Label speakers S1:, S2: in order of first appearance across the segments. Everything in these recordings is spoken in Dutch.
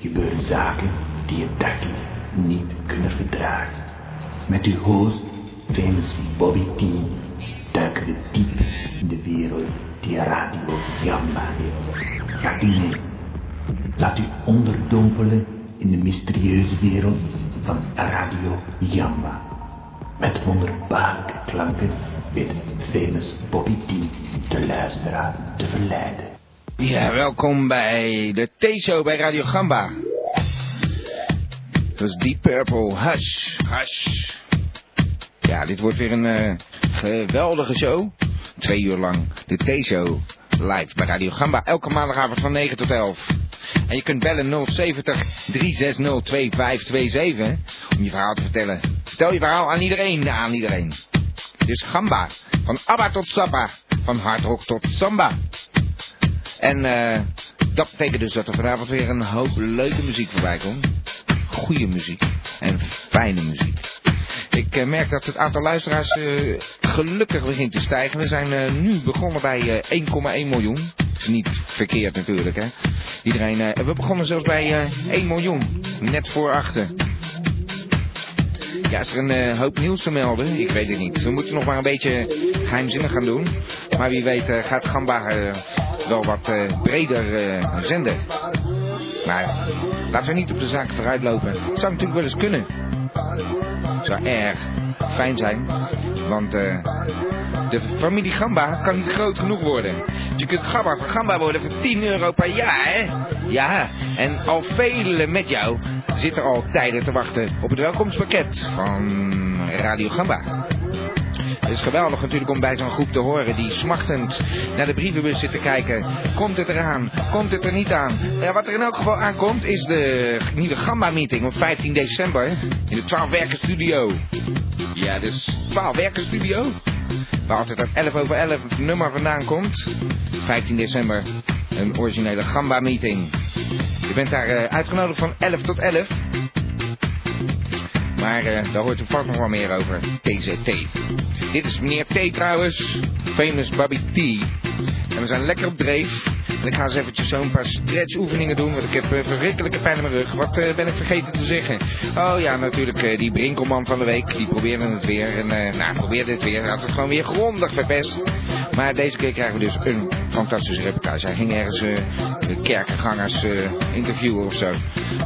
S1: gebeuren zaken die je dagelijks niet kunnen verdragen. Met uw host, famous Bobby T, duiken we diep in de wereld die Radio Jamba heeft. Gaat u mee. Laat u onderdompelen in de mysterieuze wereld van Radio Jamba. Met wonderbaarlijke klanken weet famous Bobby T de luisteraar te verleiden.
S2: Ja, welkom bij de T-show bij Radio Gamba. Het was Deep Purple, hush, hush. Ja, dit wordt weer een eh, geweldige show. Twee uur lang de T-show live bij Radio Gamba. Elke maandagavond van 9 tot 11. En je kunt bellen 070 360 2527 om je verhaal te vertellen. Vertel je verhaal aan iedereen, aan iedereen. Dus Gamba, van ABBA tot Zappa, van hardrock tot samba. En eh, dat betekent dus dat er vanavond weer een hoop leuke muziek voorbij komt. Goede muziek en fijne muziek. Ik eh, merk dat het aantal luisteraars eh, gelukkig begint te stijgen. We zijn eh, nu begonnen bij eh, 1,1 miljoen. is niet verkeerd natuurlijk, hè. Iedereen, eh, we begonnen zelfs bij eh, 1 miljoen. Net voor achter. Ja, is er een eh, hoop nieuws te melden? Ik weet het niet. We moeten nog maar een beetje geheimzinnig gaan doen. Maar wie weet eh, gaat Gamba eh, wel wat eh, breder eh, zenden. Maar laten we niet op de zaak vooruitlopen. Het zou natuurlijk wel eens kunnen. Het zou erg fijn zijn. Want eh, de familie Gamba kan niet groot genoeg worden. Je kunt Gamba van Gamba worden voor 10 euro per jaar, hè? Ja, en al velen met jou zitten al tijden te wachten op het welkomstpakket van Radio Gamba. Het is geweldig natuurlijk om bij zo'n groep te horen die smachtend naar de brievenbus zit te kijken. Komt het eraan? Komt het er niet aan? Ja, wat er in elk geval aankomt is de nieuwe Gamba-meeting op 15 december in de 12 Werken Studio. Ja, dus 12 Werken Studio. Waar altijd dat 11 over 11 het nummer vandaan komt. 15 december, een originele Gamba-meeting. Je bent daar eh, uitgenodigd van 11 tot 11. Maar eh, daar hoort u vast nog wel meer over. TZT. Dit is meneer T trouwens. Famous Bobby T. En we zijn lekker op dreef. En ik ga eens eventjes zo'n paar stretch oefeningen doen. Want ik heb eh, verrukkelijke pijn in mijn rug. Wat eh, ben ik vergeten te zeggen? Oh ja, natuurlijk eh, die Brinkelman van de week. Die probeerde het weer. En eh, nou, probeerde het weer. Hij had het gewoon weer grondig verpest. Maar deze keer krijgen we dus een fantastische reportage. Hij ging ergens eh, de kerkengangers eh, interviewen of zo.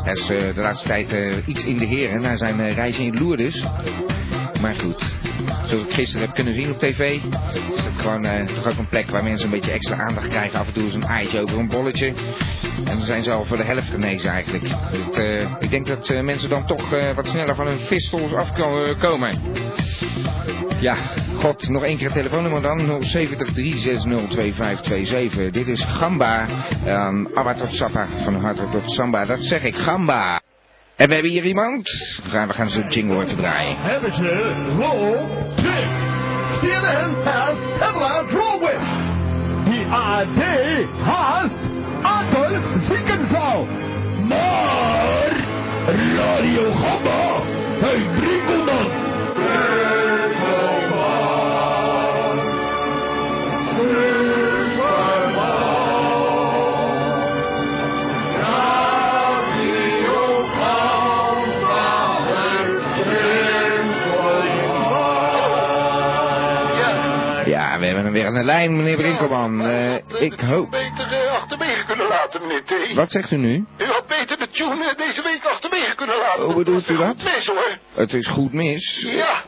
S2: Hij is eh, de laatste tijd eh, iets in de heren na zijn eh, reis in Lourdes. Maar goed, zoals ik gisteren heb kunnen zien op tv, is dat gewoon eh, toch ook een plek waar mensen een beetje extra aandacht krijgen. Af en toe is een eitje over een bolletje. En we zijn ze al voor de helft genezen eigenlijk. Het, eh, ik denk dat eh, mensen dan toch eh, wat sneller van hun vistels afkomen. eh, Ja, god, nog één keer het telefoonnummer dan. 0703602527. Dit is Gamba. Um, Abba tot Sappa, van Hardrock tot Samba. Dat zeg ik, Gamba. En we hebben hier iemand. We gaan, we gaan zo'n jingle even draaien.
S3: Hebben ze roll tip. CNN has Pamela Drolwich. The AD has Adolf Ziekenzaal. Maar Radio Gamma, hey Brinkelman. Brinkelman.
S2: Ja, we hebben hem weer aan de lijn, meneer Brinkelman. Eh, ik hoop...
S4: beter eh, achterwege kunnen laten, meneer T.
S2: Wat zegt u nu?
S4: U had beter de tune eh, deze week achterwege kunnen laten.
S2: Hoe bedoelt u dat?
S4: Het mis hoor.
S2: Het is goed mis.
S4: Ja.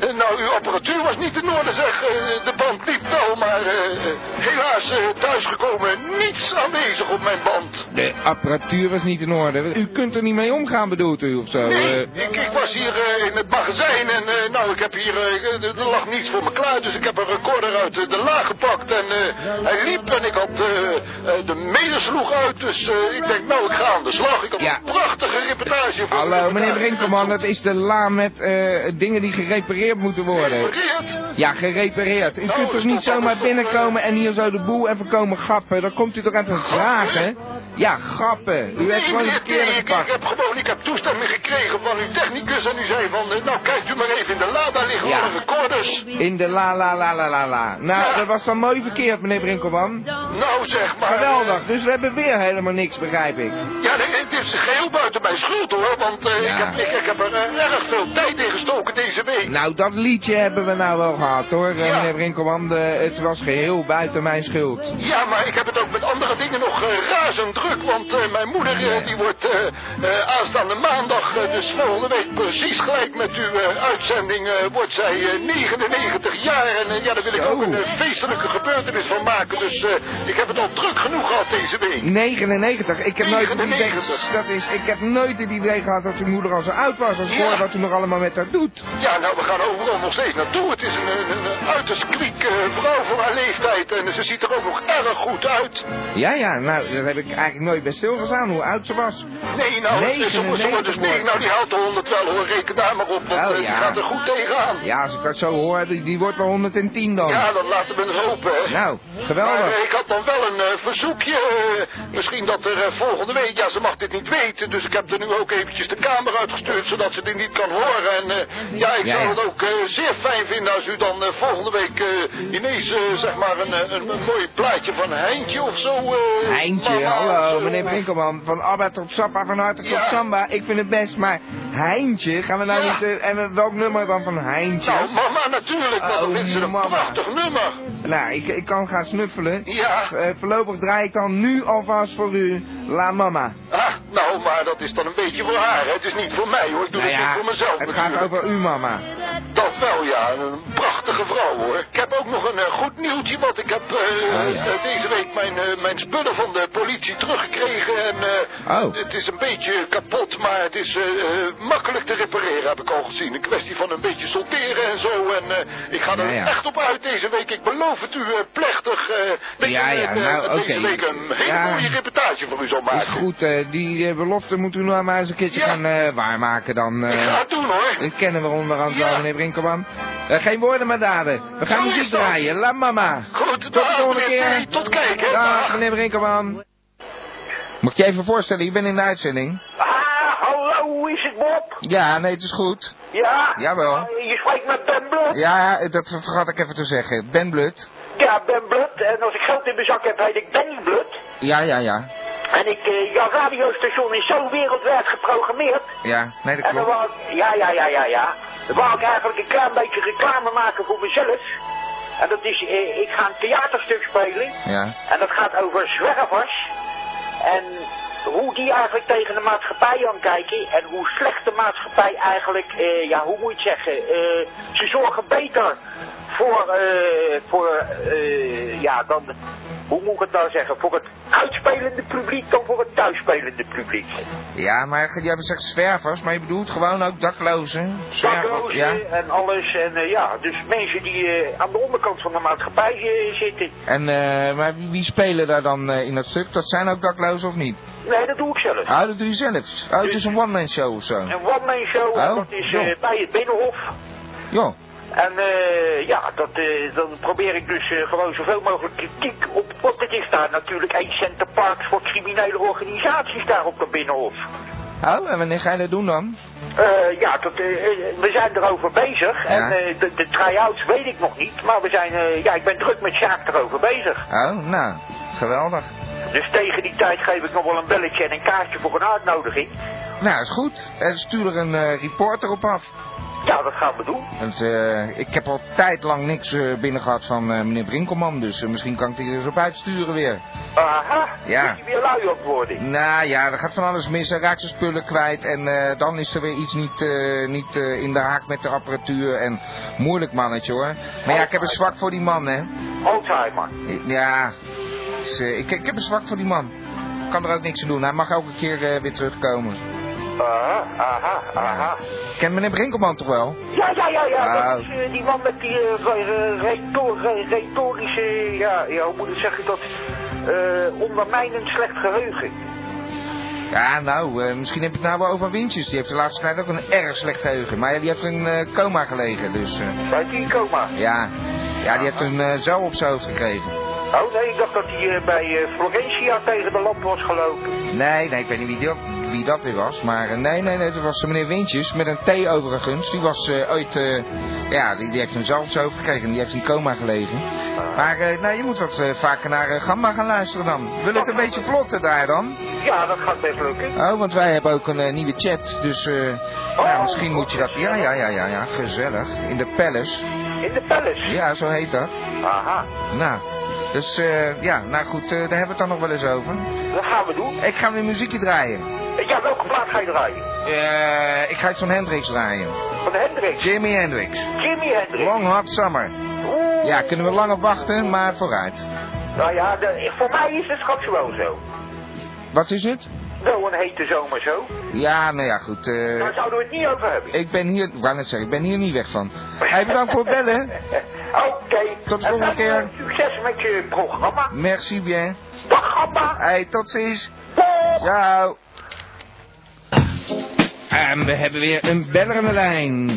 S4: Eh, Nou, uw apparatuur was niet in orde, zeg. Eh, De band liep wel, maar eh, helaas eh, thuisgekomen niets aanwezig op mijn band.
S2: De apparatuur was niet in orde. U kunt er niet mee omgaan, bedoelt u, of zo?
S4: Nee,
S2: Eh,
S4: ik, ik was hier eh, in het magazijn en eh, nou, ik heb hier, eh, er er lag niets voor me klaar, dus ik heb een recorder uit eh, de laag gepakt en eh, hij liep en ik had eh, eh, de medesloeg uit, dus eh, ik denk nou, ik ga aan de slag. Ik had
S2: Ja.
S4: een prachtige reportage voor
S2: Hallo,
S4: de
S2: meneer
S4: reportage.
S2: Brinkelman, dat is de la met eh, dingen die gerepareerd moeten worden.
S4: Gerepareerd?
S2: Ja, gerepareerd. U
S4: Nou,
S2: kunt
S4: dat
S2: toch
S4: is
S2: niet
S4: toch
S2: zomaar
S4: anders dan,
S2: binnenkomen en hier zo de boel even komen gappen? Dan komt u toch even vragen? Ja, grappen. U hebt
S4: Nee,
S2: gewoon
S4: meneer
S2: een verkeerde
S4: Thierry, ik, ik
S2: gepakt.
S4: heb gewoon ik heb toestemming gekregen van uw technicus en u zei van, eh, nou kijkt u maar even in de la, daar liggen
S2: Ja.
S4: alle recorders.
S2: In de la la la la la la. Nou,
S4: Ja.
S2: dat was dan mooi verkeerd, meneer Brinkelman.
S4: Nou zeg maar. eh,
S2: Geweldig, dus we hebben weer helemaal niks, begrijp ik.
S4: Ja, nee, het is geheel buiten mijn schuld hoor, want eh,
S2: Ja.
S4: ik, heb, ik, ik heb er eh, erg veel tijd in gestoken deze week.
S2: Nou, dat liedje hebben we nou wel gehad hoor, eh,
S4: Ja.
S2: meneer Brinkelman. De- het was geheel buiten mijn schuld.
S4: Ja, maar ik heb het ook met andere dingen nog eh, razend druk. Want eh, mijn moeder eh, die wordt eh, eh, aanstaande maandag, eh, dus volgende week precies gelijk met uw eh, uitzending, eh, wordt zij eh, 99 jaar. En eh, ja, daar wil ik
S2: Zo.
S4: ook een eh, feestelijke gebeurtenis van maken. Dus eh, ik heb het al druk genoeg gehad deze week.
S2: 99. Ik heb nooit het idee,
S4: 99.
S2: dat is, ik heb nooit het idee gehad dat uw moeder al zo oud was. Als
S4: Ja.
S2: voor wat u nog allemaal met haar doet.
S4: Ja, nou, we gaan overal nog steeds naartoe. Het is een, een, een uiterst kliek eh, vrouw voor haar leeftijd. En ze ziet er ook nog erg goed uit.
S2: Ja, ja, nou, daar heb ik eigenlijk nooit bij stilgestaan hoe oud ze was.
S4: Nee, nou, het is- ze wordt- ze wordt dus
S2: 99
S4: nee, nou die haalt de 100 wel hoor. Reken daar maar op, want
S2: Oh,
S4: eh, die
S2: ja.
S4: gaat er goed tegenaan.
S2: Ja, als ik dat zo hoor, die, die wordt wel 110 dan.
S4: Ja, dat laten we eens hopen. hè.
S2: Nou,
S4: Maar
S2: geweldig.
S4: eh, ik had dan wel een eh, verzoekje. eh, misschien dat er eh, volgende week... Ja, ze mag dit niet weten. Dus ik heb er nu ook eventjes de kamer uitgestuurd... zodat ze dit niet kan horen. En eh, ja, ik
S2: Ja,
S4: zou
S2: ja.
S4: het ook eh, zeer fijn vinden... als u dan eh, volgende week eh, ineens eh, zeg maar een, eh, een, een mooi plaatje van Heintje of zo... eh,
S2: Heintje,
S4: mama, of
S2: hallo,
S4: zo.
S2: meneer Brinkelman. Van Abba tot Sappa, van Harte
S4: Ja.
S2: tot Samba. Ik vind het best, maar Heintje, gaan we nou
S4: Ja.
S2: niet... eh, en welk nummer dan van Heintje?
S4: Nou, mama natuurlijk. want Dat
S2: Oh,
S4: vindt ze een
S2: mama.
S4: prachtig nummer.
S2: Nou, ik, ik kan gaan snuffelen.
S4: Ja.
S2: Eh, voorlopig draai ik dan nu alvast voor u La Mama.
S4: Ah, nou, maar dat is dan een beetje voor haar. hè. Het is niet voor mij, hoor. Ik doe het niet voor mezelf
S2: Nou het
S4: natuurlijk.
S2: gaat over u, mama.
S4: Dat wel, ja. Een prachtige vrouw, hoor. Ik heb ook nog een eh, goed nieuwtje, want ik heb eh,
S2: Ah, ja.
S4: eh, deze week mijn, eh, mijn spullen van de politie teruggekregen. En eh,
S2: Oh.
S4: het is een beetje kapot, maar het is eh, eh, makkelijk te repareren, heb ik al gezien. Een kwestie van een beetje solteren en zo. En eh, ik ga er
S2: Ja, ja.
S4: echt op uit deze week. Ik beloof het u eh, plechtig. eh, dat ik,
S2: Ja,
S4: eh,
S2: ja,
S4: de-
S2: nou,
S4: deze
S2: oké.
S4: week een hele
S2: Ja.
S4: mooie reportage voor u zal
S2: Is
S4: maken.
S2: goed, eh, die eh, belofte moet u nou maar eens een keertje
S4: Ja.
S2: gaan eh, waarmaken dan.
S4: Ik
S2: eh.
S4: ga het doen, hoor.
S2: dat kennen we onderhand wel,
S4: Ja.
S2: meneer Brinkelman. Eh, geen woorden maar daden. We gaan
S4: Zo
S2: muziek
S4: is dat.
S2: draaien. La Mama.
S4: Goed,
S2: Tot de
S4: dag,
S2: volgende
S4: meneer
S2: keer.
S4: Thierry. Tot kijken.
S2: Dag,
S4: Dag.
S2: meneer Brinkelman. Moet je even voorstellen, ik ben in de uitzending.
S5: Ah, hallo, is het Bob?
S2: Ja, nee, het is goed.
S5: Ja?
S2: Jawel.
S5: Eh, Je spreekt met Ben Blut.
S2: Ja, dat vergat ik even te zeggen. Ben Blut.
S5: Ja, Ben Blut. En als ik geld in mijn zak heb, heet ik Benny Blut.
S2: Ja, ja, ja.
S5: En ik, eh, jouw radiostation is zo wereldwijd geprogrammeerd.
S2: Ja, nee, dat
S5: En dan
S2: klopt.
S5: wou ik, ja, ja, ja, ja, ja. Dan wou ik eigenlijk een klein beetje reclame maken voor mezelf. En dat is, eh, ik ga een theaterstuk spelen.
S2: Ja.
S5: En dat gaat over zwervers. En hoe die eigenlijk tegen de maatschappij aankijken. En hoe slecht de maatschappij eigenlijk, eh, ja, hoe moet je het zeggen? eh, ze zorgen beter voor, eh, voor eh, ja, dan, hoe moet ik het nou zeggen? Voor het uitspelende publiek dan voor het thuisspelende publiek.
S2: Ja, maar jij zegt zwervers, maar je bedoelt gewoon ook daklozen. Zwervers,
S5: Daklozen
S2: ja.
S5: en alles. En eh, ja, dus mensen die eh, aan de onderkant van de maatschappij eh, zitten.
S2: En eh, maar wie spelen daar dan eh, in dat stuk? Dat zijn ook daklozen of niet?
S5: Nee, dat doe ik zelf.
S2: Oh, dat doe je zelf. Oh, het is een one-man show of zo.
S5: Een one-man show,
S2: Oh,
S5: dat is
S2: joh.
S5: eh, bij het Binnenhof.
S2: Ja.
S5: En eh, ja, dat, eh, dan probeer ik dus eh, gewoon zoveel mogelijk kritiek op. Want het is daar natuurlijk een centerpark voor criminele organisaties daar op de Binnenhof.
S2: Oh, en wanneer ga je dat doen dan?
S5: Eh, ja, dat, eh, eh, we zijn erover bezig. En eh, de, de try-outs weet ik nog niet. Maar we zijn, eh, ja, ik ben druk met Sjaak erover bezig.
S2: Oh, nou, geweldig.
S5: Dus tegen die tijd geef ik nog wel een belletje en een kaartje voor een uitnodiging.
S2: Nou, is goed. Er stuur er een eh, reporter op af.
S5: Ja, dat gaan we doen.
S2: Want eh, ik heb al tijd lang niks eh, binnen gehad van eh, meneer Brinkelman, dus eh, misschien kan ik die erop uitsturen weer.
S5: Aha,
S2: Ja.
S5: moet je weer lui op worden.
S2: Nou ja, er gaat van alles mis. Hij raakt zijn spullen kwijt. En eh, dan is er weer iets niet, eh, niet eh, in de haak met de apparatuur. En moeilijk mannetje hoor. Maar ja, ik heb een zwak voor die man, hè.
S5: Alzheimer.
S2: Ja, dus, eh, ik, ik heb een zwak voor die man. Ik kan er ook niks aan doen. Hij mag elke keer eh, weer terugkomen.
S5: Aha, Ah, aha, aha.
S2: Ken meneer Brinkelman toch wel?
S5: Ja, ja, ja, ja.
S2: Ah.
S5: Dat is eh, die man met die eh, re- re- retor- re- retorische, ja, ja, hoe moet ik zeggen dat, eh ondermijnend slecht geheugen.
S2: Ja, nou, eh, misschien heb je het nou wel over Wintjes. Die heeft de laatste tijd ook een erg slecht geheugen. Maar ja, die heeft in eh, coma gelegen, dus... eh,
S5: Bij die coma.
S2: ja. ja, die heeft een eh, zuil op zijn hoofd gekregen.
S5: Oh nee, ik dacht dat hij eh, bij eh, Florentia tegen de lamp was gelopen.
S2: Nee, nee, ik weet niet wie dat, wie dat weer was. Maar eh, nee, nee, nee, dat was meneer Wintjes met een T overigens. Die was eh ooit, eh, ja, die, die heeft een zelfshoofd gekregen. Die heeft in coma gelegen. Maar eh, nou, je moet wat eh, vaker naar eh, Gamma gaan luisteren dan. Wil het een beetje vlotter daar dan?
S5: Ja, dat gaat best lukken.
S2: Oh, want wij hebben ook een eh, nieuwe chat. Dus eh,
S5: Oh.
S2: nou, misschien moet je dat... Ja, ja, ja, ja, ja, gezellig. In de Palace.
S5: In de palace.
S2: Ja, zo heet dat.
S5: Aha,
S2: Nou, dus eh, ja, nou goed, eh, daar hebben we het dan nog wel eens over.
S5: dat gaan we doen.
S2: Ik ga weer muziekje draaien.
S5: Eh, Ja, welke plaat ga je draaien?
S2: Eh, ik ga iets van Hendrix draaien.
S5: Van Hendrix.
S2: Jimi Hendrix.
S5: Jimi Hendrix.
S2: Long Hot Summer.
S5: Oeh.
S2: Ja, kunnen we lang op wachten, maar vooruit.
S5: Nou ja, de- voor mij is het straks gewoon zo.
S2: Wat is het?
S5: Wel een hete zomer zo.
S2: Ja, nou ja, goed. eh,
S5: Daar zouden we het niet over hebben.
S2: ik ben hier, ik wou net zeggen, ik ben hier niet weg van. Hey, bedankt voor het bellen.
S5: Eh, Oké.
S2: Tot de
S5: En
S2: volgende
S5: dan,
S2: keer.
S5: eh, Succes met je programma.
S2: Merci bien.
S5: Dag, gamma.
S2: Hey, tot ziens.
S5: Doeg.
S2: Ciao. En we hebben weer een beller aan de lijn.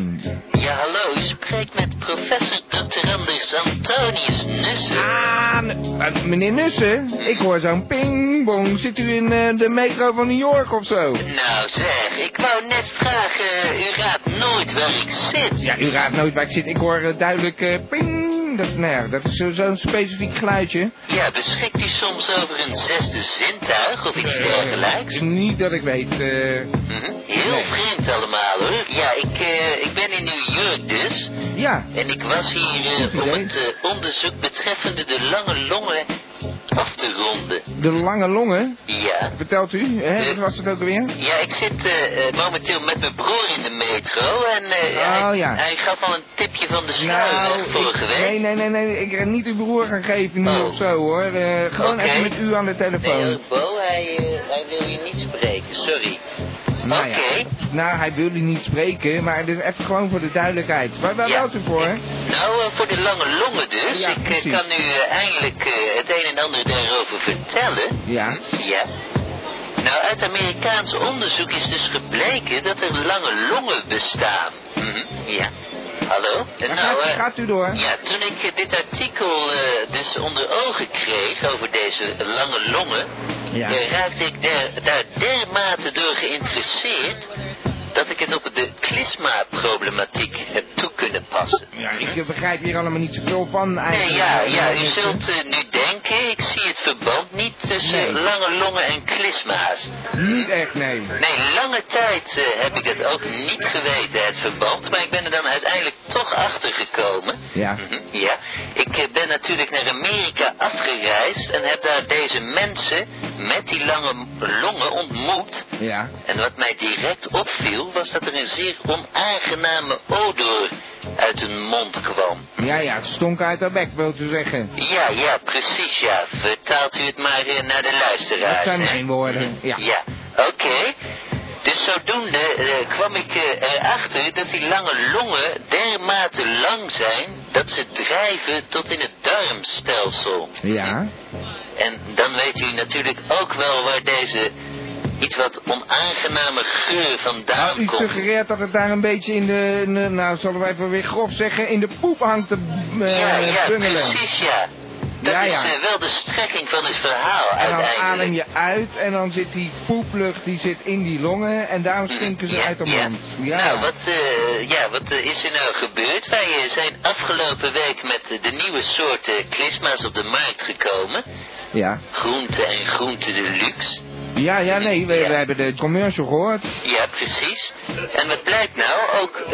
S6: Ja, hallo, u spreekt met professor doctorandus Antonius Nussen.
S2: Ah, n- eh, meneer Nussen, ik hoor zo'n ping-bong. Zit u in eh, de metro van New York of zo?
S6: Nou zeg, ik wou net vragen, u raadt nooit waar ik zit.
S2: Ja, u raadt nooit waar ik zit. Ik hoor eh, duidelijk eh, ping. Dat, nou ja, dat is zo- zo'n specifiek geluidje.
S6: Ja, beschikt u soms over een zesde zintuig of iets dergelijks?
S2: Eh, niet dat ik weet. eh.
S6: Mhm. Heel
S2: Nee.
S6: vreemd allemaal hoor. Ja, ik, eh, ik ben in New York dus.
S2: ja,
S6: En ik was hier eh,
S2: Goed
S6: om
S2: idee.
S6: het eh, onderzoek betreffende de lange longen af te ronden.
S2: de lange longen.
S6: Ja.
S2: Vertelt u, hè? Wat was het ook alweer?
S6: Ja, ik zit eh, eh, momenteel met mijn broer in de metro en eh,
S2: Oh,
S6: hij,
S2: ja. Nou,
S6: hij gaf al een tipje van de sluier hè, vorige
S2: ik-
S6: week.
S2: nee, nee, nee, nee. Ik kan niet uw broer gaan geven nu
S6: Oh.
S2: of zo hoor. Eh, gewoon
S6: Oké.
S2: even met u aan de telefoon.
S6: Nee, hoor, Bo, hij, eh, hij wil je niet spreken, sorry.
S2: nou
S6: Oké.
S2: ja, nou, hij wil u niet spreken, maar dit is even gewoon voor de duidelijkheid. Waar, waar
S6: Ja.
S2: belt u voor? hè?
S6: Nou, eh, voor de lange longen dus.
S2: Ja,
S6: ik eh,
S2: precies.
S6: kan u eh, eigenlijk eh, het een en ander daarover vertellen.
S2: Ja.
S6: Ja. Nou, uit Amerikaans onderzoek is dus gebleken dat er lange longen bestaan. Mhm, Ja. Hallo? Eh,
S2: Dan
S6: nou,
S2: gaat,
S6: eh,
S2: gaat u door.
S6: Ja, toen ik eh, dit artikel eh, dus onder ogen kreeg over deze lange longen,
S2: Ja.
S6: eh, raakte ik der- daar dermate door geïnteresseerd dat ik het op de klisma-problematiek heb toe kunnen passen.
S2: Ja, ik eh, begrijp hier allemaal niet zoveel van
S6: Nee,
S2: eigenlijk.
S6: ja, ja,
S2: Eh,
S6: u zult eh, nu denken, ik zie het verband niet tussen
S2: Nee.
S6: lange longen en klisma's.
S2: Niet echt, nee.
S6: Nee, lange tijd eh, heb ik dat ook niet geweten, het verband. Maar ik ben er dan uiteindelijk toch achter gekomen.
S2: Ja.
S6: Mhm, Ja. Ik eh, ben natuurlijk naar Amerika afgereisd en heb daar deze mensen met die lange m- longen ontmoet.
S2: Ja.
S6: En wat mij direct opviel was dat er een zeer onaangename odor uit hun mond kwam.
S2: Ja, ja, het stonk uit haar bek, wil te zeggen.
S6: Ja, ja, precies ja. Vertaalt u het maar eh, naar de luisteraars.
S2: Dat zijn
S6: hè?
S2: mijn woorden,
S6: Mhm.
S2: ja.
S6: oké. Dus zodoende eh, kwam ik eh, erachter dat die lange longen dermate lang zijn dat ze drijven tot in het darmstelsel. Oh,
S2: Ja.
S6: En dan weet u natuurlijk ook wel waar deze iets wat onaangename geur vandaan
S2: Nou, U
S6: komt.
S2: suggereert dat het daar een beetje in de, in de- nou zullen we even weer grof zeggen, in de poep hangt te eh,
S6: ja, ja,
S2: bungelen.
S6: precies ja. Dat
S2: Ja,
S6: is
S2: ja.
S6: eh, wel de strekking van het verhaal
S2: En dan adem
S6: uiteindelijk.
S2: je uit en dan zit die poeplucht die zit in die longen en daarom stinken ze
S6: Ja,
S2: uit de
S6: ja.
S2: mond. Ja,
S6: Nou, wat, eh, ja, wat eh, is er nou gebeurd? Wij eh, zijn afgelopen week met eh, de nieuwe soorten klisma's op de markt gekomen.
S2: ja.
S6: Groente en groente deluxe.
S2: Ja, ja, nee, we,
S6: Ja.
S2: we hebben de commercial gehoord.
S6: Ja, precies. En wat blijkt nou? Ook eh,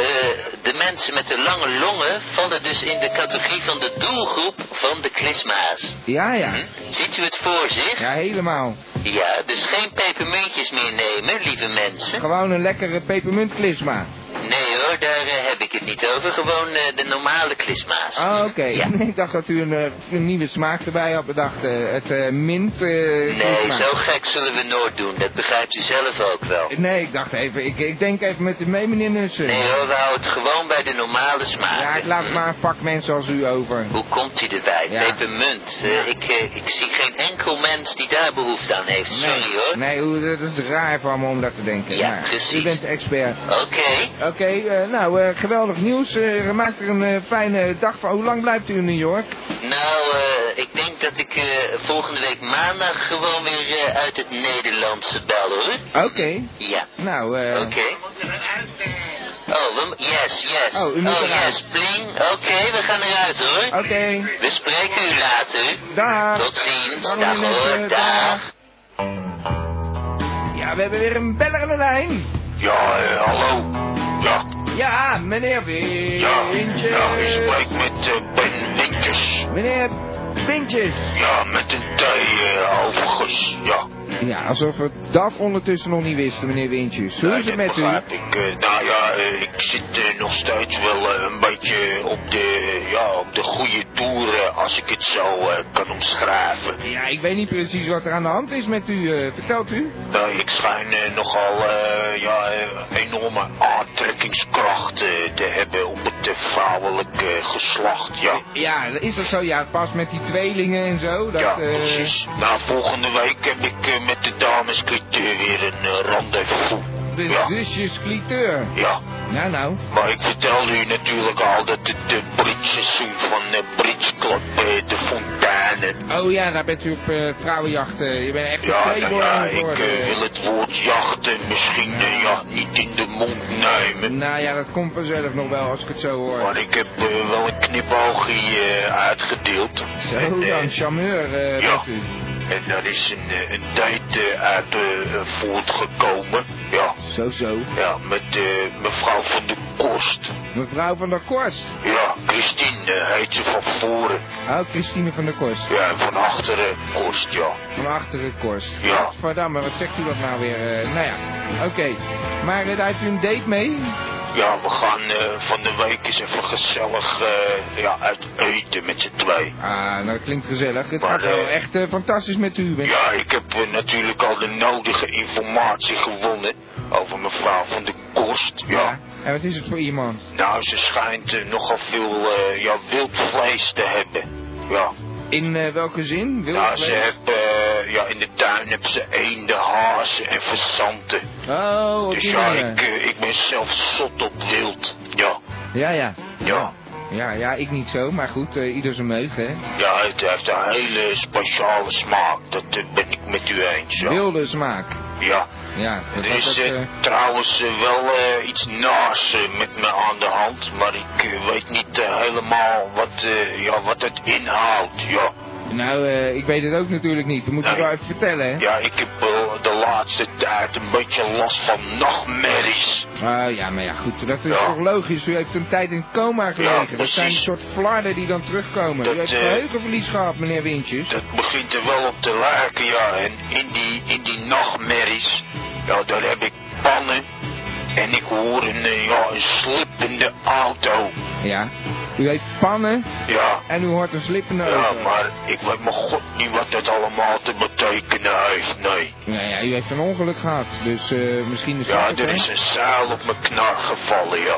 S6: de mensen met de lange longen vallen dus in de categorie van de doelgroep van de klisma's.
S2: Ja, ja.
S6: Hm? Ziet u het voor zich?
S2: Ja, helemaal.
S6: Ja, dus geen pepermuntjes meer nemen, lieve mensen.
S2: Gewoon een lekkere pepermuntklisma.
S6: Nee hoor, daar eh, heb ik het niet over. Gewoon eh, de normale klisma's.
S2: Ah, oké.
S6: Ja.
S2: Ik dacht dat u een, eh, een nieuwe smaak erbij had bedacht. eh, het eh, mint. eh,
S6: Nee,
S2: smaak.
S6: zo gek zullen we nooit doen. Dat begrijpt u zelf ook wel.
S2: Nee, ik dacht even. Ik, ik denk even met u mee, meneer Nussen.
S6: Nee hoor, we houden het gewoon bij de normale smaak.
S2: ja, ik laat maar een pak mensen als u over.
S6: Hoe komt u erbij?
S2: Ja.
S6: Pepermunt. Eh, ik, eh, ik zie geen enkel mens die daar behoefte aan heeft. Sorry hoor.
S2: Nee, hoe, dat is raar van me om dat te denken.
S6: Ja,
S2: Maar
S6: precies.
S2: U bent de expert.
S6: Oké.
S2: Oké, eh, nou, eh, geweldig nieuws. Eh, maak er een eh, fijne dag van. Hoe lang blijft u in New York?
S6: Nou, eh, ik denk dat ik eh, volgende week maandag gewoon weer eh, uit het Nederlandse bel hoor.
S2: Oké.
S6: Ja.
S2: Nou, eh...
S6: Oké. Oh, we, yes, yes.
S2: Oh, u moet eruit.
S6: yes, pling. Oké, we gaan eruit hoor.
S2: Oké.
S6: We spreken u later.
S2: Dag.
S6: Tot ziens.
S2: Dag,
S6: Dag
S2: meneer
S6: hoor.
S2: Mensen.
S6: Dag.
S2: Ja, we hebben weer een beller aan de lijn.
S7: Ja, eh, hallo. Ja,
S2: Ja, meneer
S7: ja.
S2: Wintjes.
S7: Ja, ik spreek met eh, Ben Wintjes.
S2: Meneer Wintjes.
S7: Ja, met een T eh, overigens. Ja.
S2: Ja, alsof we DAF ondertussen nog niet wisten, meneer Wintjes. Hoe is
S7: Ja,
S2: het
S7: dat
S2: met u?
S7: begrijp ik. Eh, nou ja, eh, ik zit eh, nog steeds wel eh, een beetje op de, ja, op de goede toeren, als ik het zo eh, kan omschrijven.
S2: Ja, ik weet niet precies wat er aan de hand is met u. eh, vertelt u?
S7: Nou, ik schijn eh, nogal eh, ja, eh, enorme aantrekkingskracht eh, te hebben op het eh, vrouwelijke geslacht, ja.
S2: Ja, is dat zo? Ja, pas met die tweelingen en zo. Dat,
S7: ja,
S2: eh,
S7: precies. Nou, volgende week heb ik eh, met de dames weer een eh, rendezvous.
S2: De
S7: Ja.
S2: zusjes cliteur.
S7: Ja,
S2: Nou, nou.
S7: maar ik vertelde u natuurlijk al dat het de bridgeseizoen van de bridgeclub eh, de fonteinen...
S2: Oh ja, daar bent u op eh vrouwenjacht. eh, je bent echt
S7: Ja,
S2: een
S7: nou
S2: playboy
S7: ja,
S2: aan het
S7: ik
S2: worden.
S7: eh, wil het woord jachten misschien eh, ja, niet in de mond nemen.
S2: Nou ja, dat komt vanzelf nog wel als ik het zo hoor.
S7: Maar ik heb eh, wel een knipoogje eh uitgedeeld.
S2: Zo
S7: en, eh,
S2: dan, charmeur eh,
S7: ja.
S2: bent u.
S7: en daar is een, eh, een tijd eh, uit eh, eh, voortgekomen. Ja,
S2: Zo, zo.
S7: ja met eh, mevrouw van de Kost.
S2: Mevrouw van der Korst.
S7: Ja, Christine eh, heet ze van voren.
S2: Oh, Christine van der Korst.
S7: Ja, en van achteren Kost, ja.
S2: Van achteren Korst.
S7: Ja.
S2: Godverdamme, wat zegt u dat nou weer? eh, nou ja, oké. Maar eh, daar heeft u een date mee?
S7: Ja, we gaan eh, van de week eens even gezellig eh, ja, uit eten met z'n twee.
S2: Ah, nou, dat klinkt gezellig. Het
S7: Maar,
S2: gaat wel
S7: eh,
S2: echt eh, fantastisch met u. Met...
S7: Ja, ik heb eh, natuurlijk al de nodige informatie gewonnen over mevrouw van de Kost. ja.
S2: En wat is het voor iemand?
S7: Nou, ze schijnt eh, nogal veel eh, ja, wild vlees te hebben. Ja,
S2: In eh, welke zin? Wil
S7: nou, ze heeft, eh, ja, in de tuin hebben ze eenden, hazen en fazanten.
S2: Oh, op
S7: Dus
S2: die
S7: ja,
S2: manier.
S7: ik, eh, ik ben zelf zot op wild. Ja,
S2: Ja, ja.
S7: ja.
S2: Ja, ja, ik niet zo, maar goed, eh, ieder zijn meug, hè.
S7: Ja, het heeft een hele speciale smaak. Dat eh, ben ik met u eens. Ja,
S2: Wilde smaak.
S7: ja.
S2: Ja, dat
S7: er
S2: was
S7: is
S2: ook,
S7: eh,
S2: eh,
S7: trouwens eh, wel eh, iets naars eh, met me aan de hand. Maar ik eh, weet niet eh, helemaal wat, eh, ja, wat het inhoudt. Ja.
S2: Nou, eh, ik weet het ook natuurlijk niet. Dat moet ik
S7: Nee.
S2: wel even vertellen, hè.
S7: Ja, ik heb eh, de laatste tijd een beetje last van nachtmerries.
S2: Ah, ja, maar ja, goed, dat is
S7: Ja.
S2: toch logisch. U heeft een tijd in coma gelegen. dat
S7: precies.
S2: zijn een soort flarden die dan terugkomen.
S7: Dat,
S2: u heeft
S7: eh,
S2: geheugenverlies gehad, meneer Wintjes.
S7: Dat begint er wel op te lijken, ja. En in die, in die nachtmerries, ja, daar heb ik pannen. En ik hoor een, eh, ja, een slippende auto.
S2: Ja. U heeft pannen
S7: Ja,
S2: en u hoort een slippende
S7: ja,
S2: auto.
S7: maar ik weet mijn god niet wat dat allemaal te betekenen heeft, nee.
S2: Nou ja, u heeft een ongeluk gehad, dus eh, misschien is
S7: Ja,
S2: het
S7: er is een zeil op mijn knar gevallen, ja.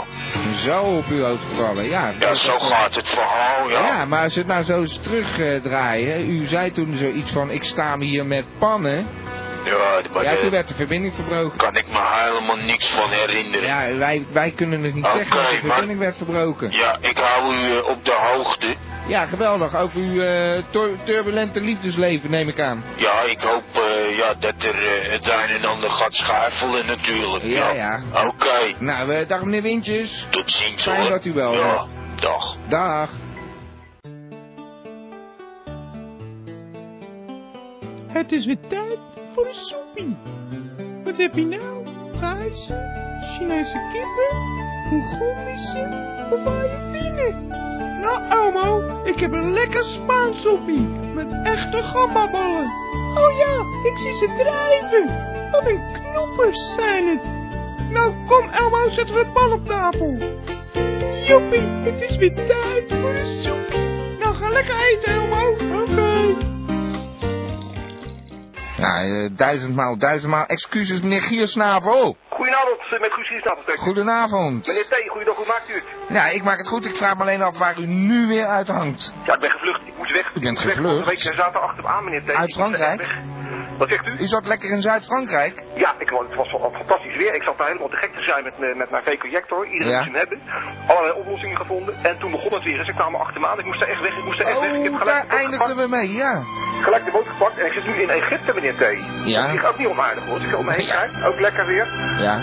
S2: zo op uw hoofd gevallen. Ja,
S7: Ja,
S2: dat-
S7: zo gaat het verhaal,
S2: Ja, maar als we het nou zo eens terugdraaien. U zei toen zoiets van: ik sta hier met pannen.
S7: Ja, maar
S2: Ja, toen
S7: daar
S2: werd de verbinding verbroken.
S7: kan ik me helemaal niks van herinneren.
S2: Ja, wij, wij kunnen het niet
S7: Oké,
S2: zeggen dat de
S7: maar-
S2: verbinding werd verbroken.
S7: Ja, ik hou u eh, op de hoogte.
S2: Ja, geweldig. Ook uw eh, tur- turbulente liefdesleven neem ik aan.
S7: Ja, ik hoop eh, ja, dat er eh, het een en ander gaat schuifelen natuurlijk.
S2: Ja, ja.
S7: Oké,
S2: Nou, eh, dag meneer Wintjes.
S7: tot ziens
S2: Fijn
S7: hoor.
S2: dat u wel
S7: Ja, dag.
S2: Dag.
S8: Het is weer tijd voor een soepie. Wat heb je nou? Thaise, Chinese kippen, Mongolische of Arabine? Nou, Elmo, ik heb een lekker Spaans soepie met echte gammaballen. Oh ja, ik zie ze drijven. Wat een knoppers zijn het. Nou, kom Elmo, zetten we het bal op tafel. Joepie, het is weer tijd voor een soepie. Nou, ga lekker eten, Elmo. Oké.
S2: Nou, eh, duizendmaal, duizendmaal excuses, meneer Giersnavel.
S9: Goedenavond, eh, met Guus Giesnappeltek.
S2: Goedenavond.
S9: Meneer T, goeiedag, hoe maakt u het?
S2: Nou, ik maak het goed. Ik vraag me alleen af waar u nu weer uit hangt.
S9: Ja, ik ben gevlucht. Ik moest weg.
S2: U bent
S9: Ik moest weg.
S2: gevlucht?
S9: Vorige week eh, zaten achter me aan, meneer T.
S2: Uit
S9: Ik moest
S2: Frankrijk?
S9: echt weg. Wat zegt u?
S2: U zat lekker in Zuid-Frankrijk.
S9: Ja, ik, wou- het was wel fantastisch weer. Ik zat daar helemaal te gek te zijn met, eh, met mijn V-projector. Iedereen
S2: Ja.
S9: moest hem hebben. Allerlei oplossingen gevonden. En toen begon het weer. Ze kwamen achter me aan. Ik moest er echt weg. Ik moest er echt weg. Ik heb
S2: Oh,
S9: gelijk
S2: daar
S9: de boot
S2: eindigden
S9: gepakt.
S2: we mee, ja.
S9: Gelijk de boot gepakt. En ik zit nu in Egypte, meneer T.
S2: Ja.
S9: Dat is ook niet onaardig hoor. Als ik er omheen kijk, ook lekker weer.
S2: Ja.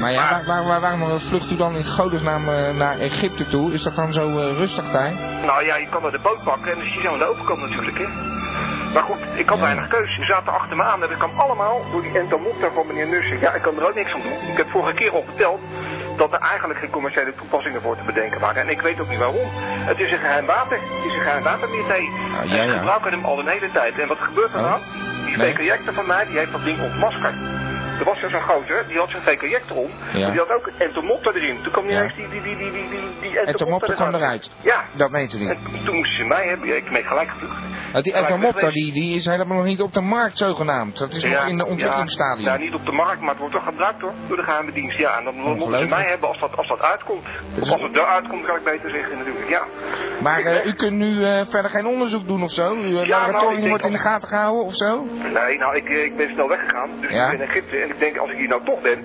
S2: Maar ja, waar, waar, waar- waarom vlucht u dan in godesnaam eh, naar Egypte toe? Is dat dan zo eh, rustig daar?
S9: Nou ja, je kan er de boot pakken en dan zie je zo aan de overkant natuurlijk, hè. Maar goed, ik had
S2: Ja.
S9: weinig keus. Ze zaten achter me aan en dat kwam allemaal door die entomopter van meneer Nussen. Ja, ik kan er ook niks aan doen. Ik heb vorige keer al verteld dat er eigenlijk geen commerciële toepassingen voor te bedenken waren. En ik weet ook niet waarom. Het is een geheim water. Het is een geheim water, meneer T.
S2: ja,
S9: En
S2: ja.
S9: ik gebruik hem al een hele tijd. En wat gebeurt er
S2: Oh.
S9: nou? Die
S2: Nee.
S9: VK-jector van mij, die heeft dat ding ontmaskerd. Er was er zo'n gozer, die had zijn VK-jector om.
S2: Ja.
S9: maar Die had ook een entomopter erin. Toen kwam niet
S2: Ja.
S9: eens die, die, die, die, die, die, die
S2: Entomopter kwam eruit.
S9: Ja,
S2: Dat weet u niet.
S9: en toen moesten ze mij hebben, ja, ik ben gelijk gevlucht.
S2: Want die Entomopter die, die is helemaal nog niet op de markt zogenaamd. Dus Dat is nog in de ontwikkelingsstadium.
S9: Ja, nou, niet op de markt, maar het wordt toch gebruikt hoor, door de geheime dienst. Ja, en dan moeten ze
S2: Ongelooflijk.
S9: mij hebben als dat, als dat uitkomt. Of als het eruit komt, kan ik beter zeggen natuurlijk, ja.
S2: Maar
S9: Ik
S2: eh,
S9: weg.
S2: u kunt nu eh, verder geen onderzoek doen of zo? Uw
S9: nou, ik
S2: laboratorium
S9: denk
S2: wordt in de
S9: dat-
S2: gaten gehouden of zo?
S9: Nee, nou, ik, eh, ik ben snel weggegaan, dus
S2: Ja?
S9: ik ben in Egypte. En ik denk, als ik hier nou toch ben,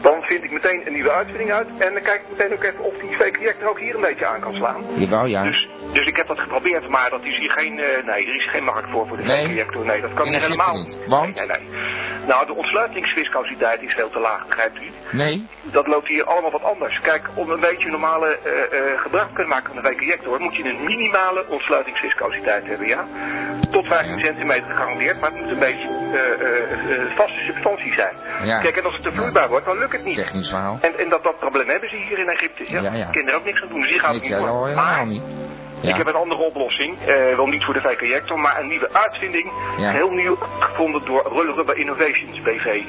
S9: dan vind ik meteen een nieuwe uitvinding uit. En dan kijk ik meteen ook even of die fake er ook hier een beetje aan kan slaan.
S2: Jawel, ja.
S9: Dus, dus ik heb dat geprobeerd, maar dat is hier geen, eh, nee, er is geen markt voor voor de
S2: Nee.
S9: reactor. Nee, dat kan
S2: In
S9: niet
S2: Egypte
S9: helemaal.
S2: niet. Want?
S9: Nee, nee, nee. Nou, de ontsluitingsfiscaliteit is veel te laag, begrijpt u?
S2: Nee?
S9: Dat loopt hier allemaal wat anders. Kijk, om een beetje normale eh, eh, gebruik te kunnen maken van de reactor, moet je een minimale ontsluitingsfiscaliteit hebben, ja? Tot 15
S2: Ja.
S9: centimeter gegarandeerd, maar het moet een beetje eh, eh, eh, vaste substantie zijn.
S2: Ja.
S9: Kijk, en als het te vloeibaar wordt, dan lukt het niet.
S2: Technisch verhaal.
S9: En, en dat, dat probleem hebben ze hier in Egypte. Ja,
S2: Ja, ja.
S9: Ik kan er ook niks aan doen, dus die gaat
S2: Ik
S9: niet
S2: eh, al
S9: door.
S2: helemaal
S9: Maar-
S2: niet.
S9: ik heb
S2: Ja.
S9: een andere oplossing, eh, wel niet voor de VK-jector, maar een nieuwe uitvinding.
S2: Ja.
S9: Heel nieuw gevonden door Roller Rubber Innovations BV.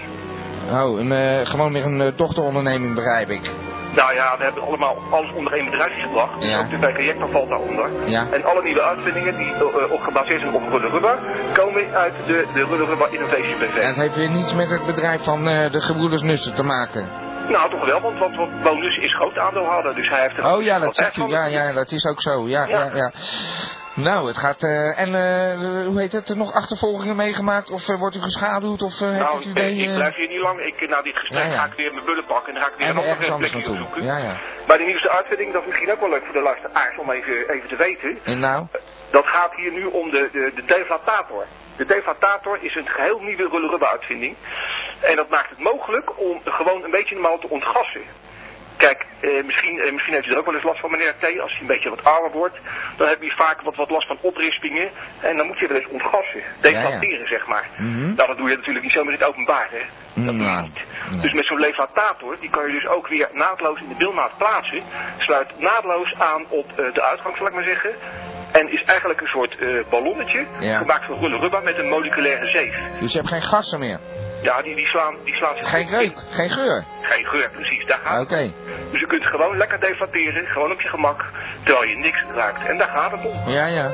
S2: Oh, een, eh, gewoon weer een eh, dochteronderneming begrijp ik.
S9: Nou ja, we hebben allemaal alles onder één bedrijf gebracht.
S2: Ja.
S9: Ook de VK-jector valt daaronder.
S2: Ja.
S9: En alle nieuwe uitvindingen die eh, eh, op gebaseerd zijn op Roller Rubber, komen uit de, de Roller Rubber Innovations BV.
S2: En het heeft weer niets met het bedrijf van eh, de gebroeders Nussen te maken.
S9: Nou, toch wel, want, want, want Bonus is groot aandeelhouder, dus hij heeft er...
S2: Oh ja, dat
S9: wat
S2: zegt
S9: echt
S2: u.
S9: van.
S2: Ja, ja, dat is ook zo. Ja, ja,
S9: Ja.
S2: ja. Nou, het gaat... eh, en eh, hoe heet het? Er nog achtervolgingen meegemaakt? Of eh, wordt u geschaduwd? Of eh,
S9: Nou,
S2: heeft u
S9: ik,
S2: idee...
S9: ik
S2: eh,
S9: blijf hier niet lang. Ik, na dit gesprek
S2: Ja, ja.
S9: ga ik weer mijn bullen pakken en dan ga ik weer
S2: en
S9: een
S2: ergens
S9: andere
S2: anders
S9: plekje
S2: naartoe.
S9: opzoeken.
S2: Ja, ja.
S9: Maar de nieuwste uitvinding, dat is misschien ook wel leuk voor de luisteraars om even, even te weten.
S2: En nou?
S9: Dat gaat hier nu om de, de, de deflatator. De deflatator is een geheel nieuwe rullerubbe-uitvinding. En dat maakt het mogelijk om gewoon een beetje normaal te ontgassen. Kijk, eh, misschien, eh, misschien heeft u er ook wel eens last van, meneer T. Als je een beetje wat ouder wordt, dan heb je vaak wat, wat last van oprispingen. En dan moet je wel eens ontgassen. Deflateren, zeg maar.
S7: Hm?
S2: Mhm.
S9: Nou, dat doe je natuurlijk niet zomaar in het openbaar, hè. Dat doe je
S2: Nou,
S9: niet.
S2: nee.
S9: Dus met zo'n levatator, die kan je dus ook weer naadloos in de bilnaad plaatsen. Sluit naadloos aan op eh, de uitgang, zal ik maar zeggen. En is eigenlijk een soort eh, ballonnetje,
S2: Ja.
S9: gemaakt van rulle rubber met een moleculaire zeef.
S2: Dus je hebt geen gassen meer?
S9: Ja, die, die, slaan, die slaan zich
S2: Geen
S9: goed
S2: reuk?
S9: in.
S2: Geen geur? Ah,
S9: Geen geur, precies, daar
S2: Oké.
S9: gaat het. Dus je kunt gewoon lekker deflateren, gewoon op je gemak, terwijl je niks raakt. En daar gaat het om.
S2: Ja, ja.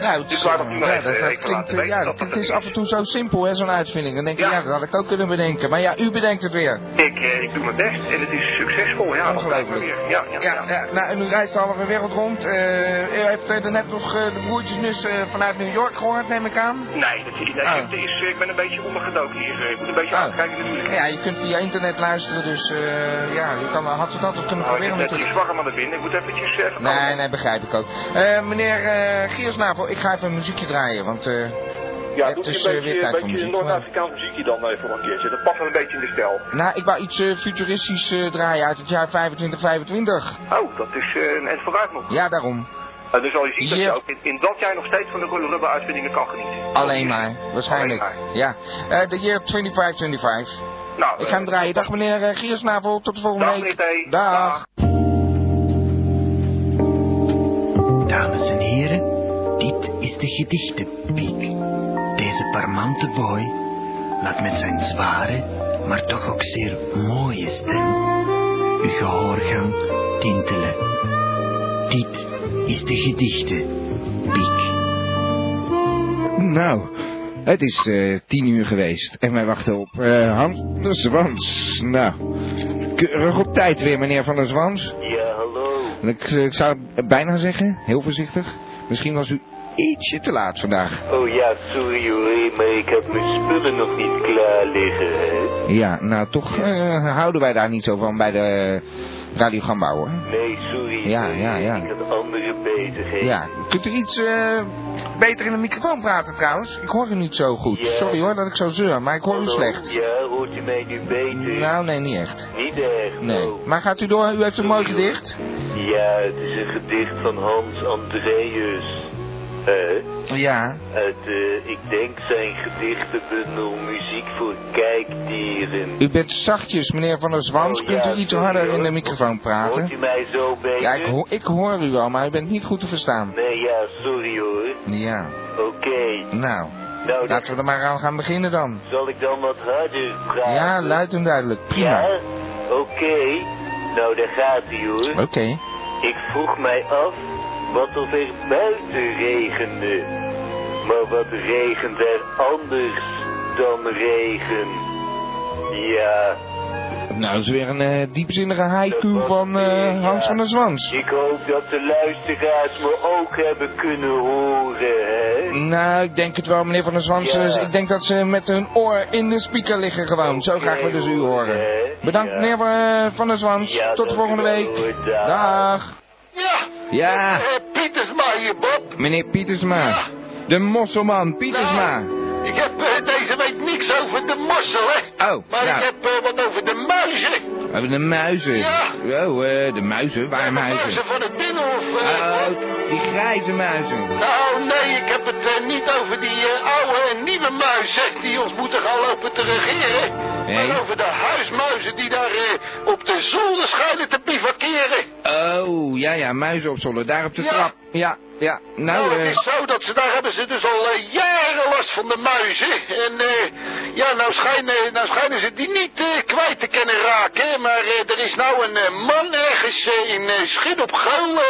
S2: Nou, het,
S9: Dus
S2: is-
S9: waar dat nu maar
S2: ja,
S9: even
S2: dat, dat
S9: even
S2: klinkt,
S9: laten
S2: eh, ja,
S9: weten
S2: dat,
S9: dat
S2: het
S9: dat
S2: is
S9: er
S2: af en toe zo simpel, hè, zo'n uitvinding. Dan denk je, ja.
S9: Ja.
S2: dat had ik ook kunnen bedenken. Maar ja, u bedenkt het weer.
S9: Ik, eh, ik doe mijn best en het is succesvol, ja, dat blijkt maar
S2: Ongelooflijk.
S9: weer. Ja, ja,
S2: Ja,
S9: ja.
S2: ja, nou, en u reist de halve wereld rond. Eh, u heeft er net nog eh, de broertjes Nus eh, vanuit New York gehoord, neem ik aan.
S9: Nee, dat is, nee,
S2: Ah.
S9: het is, eh, ik ben een beetje ondergedoken hier. eh, Ik moet een beetje
S2: Ah.
S9: uitkijken natuurlijk.
S2: Ja, je kunt via internet luisteren, dus eh, ja, je kan, had het altijd kunnen
S9: Nou, ik heb
S2: proberen
S9: net die
S2: natuurlijk.
S9: zwakke naar binnen. Ik moet eventjes eh, even...
S2: Nee, nee, begrijp ik ook. Eh, meneer eh Giersnavel, ik ga even een muziekje draaien, want... eh,
S9: Ja,
S2: het
S9: doe
S2: is,
S9: je
S2: eh,
S9: een
S2: weer
S9: beetje,
S2: tijd
S9: een
S2: voor
S9: beetje
S2: muziek,
S9: Noord-Afrikaans muziekje dan even een keertje. Dat past wel een beetje in de stijl.
S2: nou, ik wou iets eh, futuristisch eh, draaien uit het jaar 2525.
S9: Oh, dat is eh, een en vooruit nog.
S2: Ja, daarom.
S9: Nou, dan zal je zien dat
S2: Ja.
S9: je ook in, in dat jij nog steeds van de Royal Rubber uitvindingen kan genieten.
S2: Alleen maar, waarschijnlijk.
S9: Alleen maar.
S2: Ja. Eh, de year 2525.
S9: Nou,
S2: Ik ga hem
S9: eh,
S2: draaien. Dag meneer eh, Giersnavel, tot de volgende
S9: Dag,
S2: week.
S9: meneer T.
S2: Dag.
S9: Dag.
S1: Dames en heren, dit is de gedichtenpiek. Deze parmante boy laat met zijn zware, maar toch ook zeer mooie stem uw gehoorgang tintelen. Dit is de gedichtenpiek.
S2: Nou, het is eh, tien uur geweest en wij wachten op eh, Hans de Zwans. Nou, keurig op tijd weer, meneer Van der Zwans.
S6: Ja, hallo.
S2: Ik, eh, ik zou bijna zeggen, heel voorzichtig, misschien was u ietsje te laat vandaag.
S10: Oh ja, sorry hoor, maar ik heb mijn spullen nog niet klaar liggen. hè.
S2: Ja, nou toch eh, houden wij daar niet zo van bij de eh, Radio Gamba hoor.
S10: Nee, sorry.
S2: Ja,
S10: eh,
S2: ja, ja.
S10: Ik had andere bezigheden.
S2: Ja, kunt u iets eh, beter in de microfoon praten trouwens? Ik hoor u niet zo goed.
S10: Ja.
S2: Sorry hoor dat ik zo zeur, maar ik hoor u
S10: Hallo?
S2: slecht.
S10: Ja, hoort u mij nu beter?
S2: Nou, nee, niet echt.
S10: Niet erg.
S2: Nee.
S10: oh.
S2: Maar gaat u door? U heeft een mooi
S10: Sorry, hoor.
S2: gedicht?
S10: Ja, het is een gedicht van Hans Andreas. Eh,
S2: Ja.
S10: uit, eh, ik denk zijn gedichtenbundel Muziek voor Kijkdieren.
S2: U bent zachtjes, meneer Van der Zwans.
S10: Oh,
S2: Kunt
S10: ja,
S2: u iets
S10: sorry,
S2: harder
S10: hoor.
S2: in de microfoon
S10: Hoort u
S2: praten?
S10: mij zo beter?
S2: Ja, ik, ho- ik hoor u al, maar u bent niet goed te verstaan.
S10: Nee, ja, sorry hoor.
S2: Ja,
S10: Oké.
S2: nou,
S10: Nou, dan
S2: laten we er maar aan gaan beginnen dan.
S10: zal ik dan wat harder praten.
S2: Ja, luid en duidelijk. Prima.
S10: Ja? Oké. Nou, daar gaat hij hoor.
S2: Oké.
S10: Ik vroeg mij af wat of er buiten regende. Maar wat regent er anders dan regen? Ja,
S2: Nou, dat is weer een eh, diepzinnige haiku van eh, Hans van der Zwans.
S10: ik hoop dat de luisteraars me ook hebben kunnen horen, hè?
S2: Nou, ik denk het wel, meneer Van der Zwans.
S10: Ja.
S2: Eh, Ik denk dat ze met hun oor in de speaker liggen gewoon. Zo graag willen ze u horen.
S10: hè?
S2: Bedankt,
S10: Ja.
S2: meneer eh, Van der Zwans.
S10: Ja,
S2: Tot
S10: dank u
S2: volgende
S10: wel,
S2: week.
S10: hoor. Dag.
S2: Dag.
S4: Ja,
S2: Ja,
S4: eh, Pietersma hier, Bob.
S2: meneer Pietersma. De mosselman, Pietersma.
S4: Ik heb eh, deze week niks over de mossel, hè.
S2: Oh,
S4: Maar
S2: nou,
S4: ik heb eh, wat over de muizen.
S2: we hebben de muizen.
S4: Ja.
S2: Oh, eh, de muizen? Waar
S4: de
S2: muizen?
S4: van het binnenhof. eh.
S2: Oh, die grijze muizen.
S4: Nou, nee, ik heb het eh, niet over die eh, oude en nieuwe muizen die ons moeten gaan lopen te regeren.
S2: Nee.
S4: Maar over de huismuizen die daar eh, op de zolder schijnen te bivakeren.
S2: Oh, ja, ja, muizen op zolder. Daar op de
S4: Ja.
S2: trap. Ja, ja. Nou,
S4: Nou, het
S2: eh,
S4: is zo dat ze, daar hebben ze dus al eh, jaren last van de muizen. En eh, ja, nou schijnen, nou schijnen ze die niet eh, kwijt te kunnen raken. Maar eh, er is nou een eh, man ergens eh, in eh Schid op Geul. eh,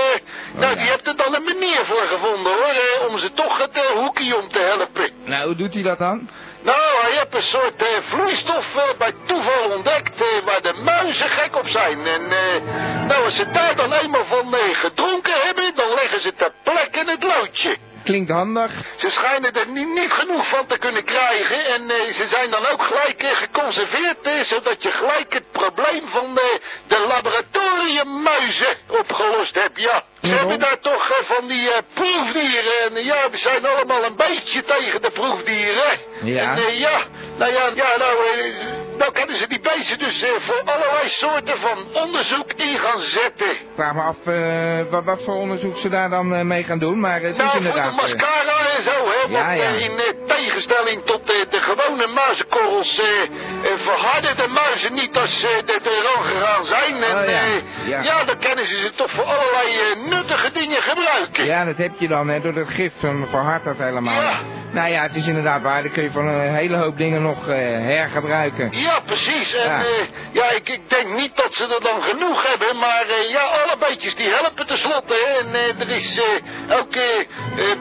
S4: nou,
S2: Oh, ja.
S4: die heeft er dan een manier voor gevonden hoor. eh, om ze toch het eh, hoekje om te helpen.
S2: nou, hoe doet hij dat dan?
S4: Nou, hij heeft een soort eh, vloeistof eh, bij toeval ontdekt eh, waar de muizen gek op zijn. En eh, nou, als ze daar dan eenmaal van eh, gedronken hebben, dan leggen ze ter plekke in het loodje.
S2: Klinkt handig.
S4: Ze schijnen er ni- niet genoeg van te kunnen krijgen en eh, ze zijn dan ook gelijk eh, geconserveerd, eh, zodat je gelijk het probleem van eh, de laboratoriummuizen opgelost hebt, ja. Ze
S2: Ja.
S4: hebben daar toch eh, van die eh, proefdieren en eh, ja, we zijn allemaal een beetje tegen de proefdieren. hè.
S2: Ja.
S4: En eh, ja, nou ja, ja nou, eh, nou kunnen ze die beesten dus eh, voor allerlei soorten van onderzoek in gaan zetten.
S2: Ik vraag me af eh, wat, wat voor onderzoek ze daar dan eh, mee gaan doen, maar het is
S4: Nou, voor de
S2: inderdaad... eh,
S4: mascara en zo, hè.
S2: Ja,
S4: want, eh,
S2: ja.
S4: in eh, tegenstelling tot eh, de gewone muizenkorrels... eh, eh, verharden de muizen niet als ze eh, er tegenaan gegaan zijn. En,
S2: Oh, ja.
S4: eh,
S2: Ja.
S4: dan kunnen ze ze toch voor allerlei eh, nuttige dingen gebruiken.
S2: ja, dat heb je dan, hè, door dat gif um, verhardt dat helemaal.
S4: Ja.
S2: Nou ja, het is inderdaad waar, dan kun je van een hele hoop dingen nog eh, hergebruiken.
S4: Ja, precies. En
S2: Ja.
S4: ja, ja ik, ik denk niet dat ze er dan genoeg hebben. Maar eh, ja, alle beetjes die helpen tenslotte. hè. En eh, er is eh, ook eh, eh,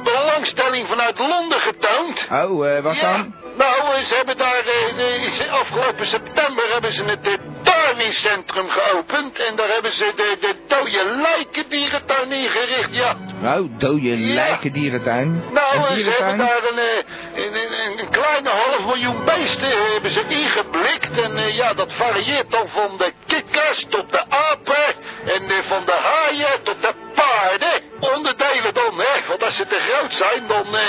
S4: belangstelling vanuit Londen getoond.
S2: Oh, eh, wat
S4: Ja,
S2: dan?
S4: Nou, eh, ze hebben daar, eh, eh, is- afgelopen september hebben ze het eh, tuiningscentrum geopend. En daar hebben ze de, de dode lijkendierentuin ingericht, ja.
S2: Oh, dode
S4: Ja.
S2: lijken dierentuin. Een
S4: Nou, eh, ze hebben
S2: dierentuin?
S4: daar een, eh, een, een, een kleine half miljoen beesten eh, hebben ze ingeblikt. En eh, ja, dat varieert dan van de kikkers tot de apen. En eh, van de haaien tot de paarden. Onderdelen dan, hè. Want als ze te groot zijn, dan eh,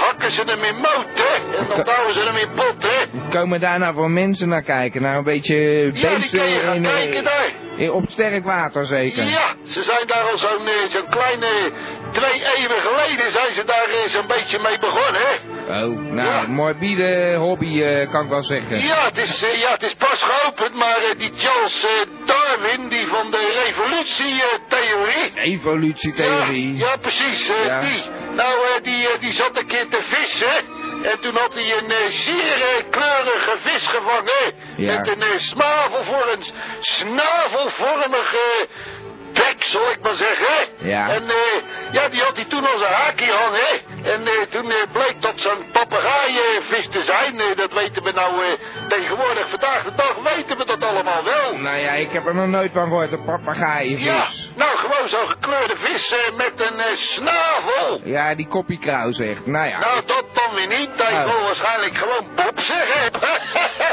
S4: hakken ze hem in moten. En dan douwen ze hem in potten.
S2: Komen daar nou voor mensen naar kijken? Nou, een beetje
S4: Ja, die
S2: beesten
S4: kan je gaan
S2: in, eh,
S4: kijken daar.
S2: in- op sterk water zeker?
S4: Ja, ze zijn daar al zo'n eh, zo'n kleine twee eeuwen geleden zijn ze daar eh, zo'n beetje mee begonnen, hè?
S2: Oh, nou,
S4: Ja.
S2: morbide hobby eh, kan ik wel zeggen.
S4: Ja, het is, eh, ja, het is pas geopend, maar eh, die Charles eh, Darwin, die van de revolutietheorie...
S2: Evolutietheorie.
S4: Ja, ja, precies, eh,
S2: Ja.
S4: die. Nou, eh, die, eh, die zat een keer te vissen... En toen had hij een eh, zeer eh, kleurige vis gevangen.
S2: Ja.
S4: Met een eh, snavel voor een s- snavelvormig eh, bek, zal ik maar zeggen.
S2: Ja.
S4: En eh, ja, die had hij toen als een haakje hangen. En eh, toen eh, bleek dat zo'n papegaaienvis te zijn. Eh, dat weten we nou eh, tegenwoordig, vandaag de dag weten we dat allemaal wel.
S2: Nou ja, ik heb er nog nooit van gehoord, een papegaaienvis.
S4: Ja, nou gewoon zo'n gekleurde vis eh, met een eh, snavel.
S2: Ja, die koppie krauw zegt. Nou ja.
S4: Nou, dat dan weer niet. Hij
S2: Nou.
S4: zal waarschijnlijk gewoon Bob zeggen.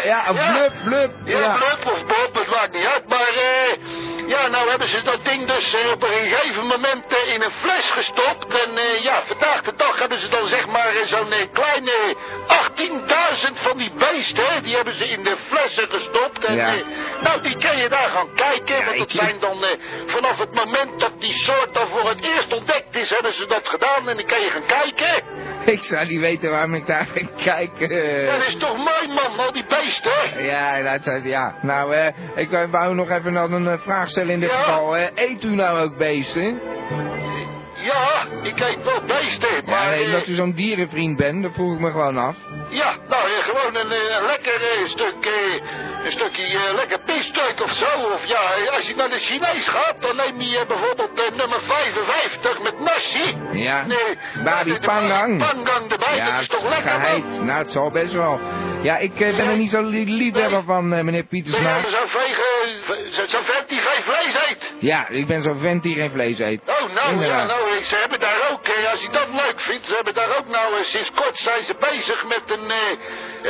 S2: Ja, blub, blub.
S4: Ja,
S2: Ja.
S4: Blub of Bob, het maakt niet uit. Maar eh, ja, nou hebben ze dat ding dus eh, op een gegeven moment eh, in een fles gestopt. En eh, ja, vandaag de dag hebben ze dan zeg maar eh, zo'n eh, kleine 18.000 van die beesten. hè, Die hebben ze in de flessen gestopt. En,
S2: Ja.
S4: eh, nou, die kan je daar gaan kijken. want dat zijn dan eh, vanaf het moment dat die soort dan voor het eerst ontdekt is, hebben ze dat gedaan. En dan kan je gaan kijken.
S2: Ik zou niet weten waarom ik daar ging kijken.
S4: Dat is toch mooi, man, al die beesten.
S2: Eh, Ja, dat, zou- ja. nou, eh, ik wou- wou nog even nog een eh, vraag stellen in dit
S4: Ja?
S2: geval. eh. eet u nou ook beesten?
S4: Ja, ik eet wel beesten,
S2: Ja,
S4: maar...
S2: nee,
S4: eh,
S2: dat u zo'n dierenvriend bent, dat vroeg ik me gewoon af.
S4: Ja, nou, eh, gewoon een, eh, een lekker eh, stuk, eh, een stukje eh, lekker pisstuk of zo. Of ja, eh, als je naar de Chinees gaat, dan neem je eh, bijvoorbeeld eh, nummer 55 met nasi.
S2: Ja.
S4: Nee,
S2: Babi
S4: de- de-
S2: Pangang.
S4: Pangang erbij,
S2: ja,
S4: dat is toch
S2: het
S4: lekker,
S2: geheid.
S4: man?
S2: Nou, het zal best wel. Ja, ik eh, ben er niet zo'n li- liefhebber van, eh, meneer
S4: Ben jij
S2: Pietersma.
S4: nou zo'n vege- ve- zo- zo'n vent die geen vlees eet?
S2: Ja, ik ben zo'n vent die geen vlees eet.
S4: Oh, nou ja,
S2: Inderdaad.
S4: nou, eh, ze hebben daar ook, eh, als je dat leuk vindt, ze hebben daar ook nou, eh, sinds kort zijn ze bezig met een eh,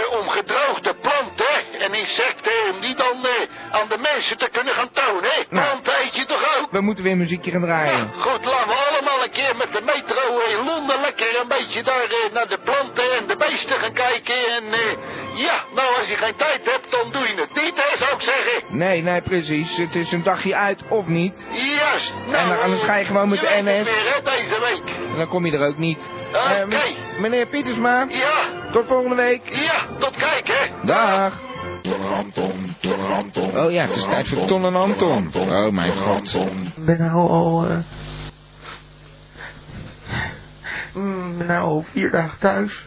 S4: eh, om gedroogde planten en insecten, om die dan eh, aan de mensen te kunnen gaan tonen. hè?
S2: Nou.
S4: Planten eet je toch ook?
S2: We moeten weer muziekje gaan draaien.
S4: Goed, laten we allemaal een keer met de metro in Londen lekker een beetje daar eh, naar de planten en de beesten gaan kijken. En eh, ja, nou als je geen tijd hebt, dan doe je het niet, hè, zou ik zeggen.
S2: Nee, nee, precies. Het is een dagje uit of niet.
S4: Juist. Nou,
S2: dan- anders
S4: eh,
S2: ga je gewoon met
S4: je
S2: de
S4: weet het
S2: NS.
S4: weer, hè, deze week.
S2: En dan kom je er ook niet.
S4: Oké.
S2: Eh, m- meneer Pietersma,
S4: Ja,
S2: tot volgende week.
S4: ja, tot kijken, hè.
S2: Dag.
S1: Anton, door Anton.
S2: Oh ja, het is tijd voor Ton en Anton. Oh mijn god.
S11: Ik ben nou al... eh, mm, ben nou al vier dagen thuis.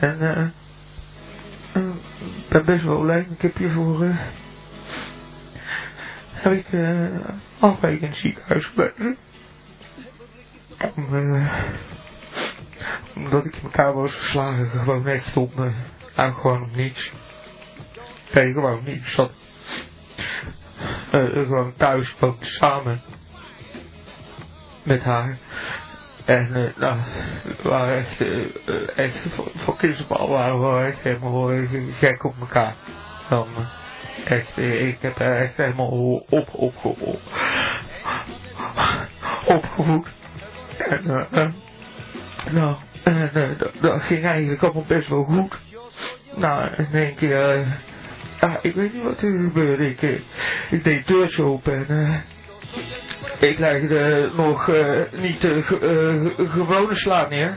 S11: En eh... mm, ik ben best wel leuk. Ik heb hiervoor... eh heb ik eh acht weken in het ziekenhuis gebleven. Om, eh, omdat ik in elkaar was geslagen. Gewoon echt om... eh, nou, gewoon om niks. Nee, gewoon niks. Dat eh, gewoon thuis woont samen met haar. En eh, nou, we waren echt, eh, eh, echt voor, voor kinderbal waren we wel echt helemaal eh, gek op elkaar. Dan, eh, echt, eh, ik heb haar echt helemaal op, op, op, op opgevoed. En eh, eh, nou, en, eh, dat, dat ging eigenlijk allemaal best wel goed. Nou, in één keer... eh, Ah, ik weet niet wat er gebeurde. Ik, eh, ik deed deurs open en eh, ik legde nog eh, niet de ge- eh, ge- gewone sla neer.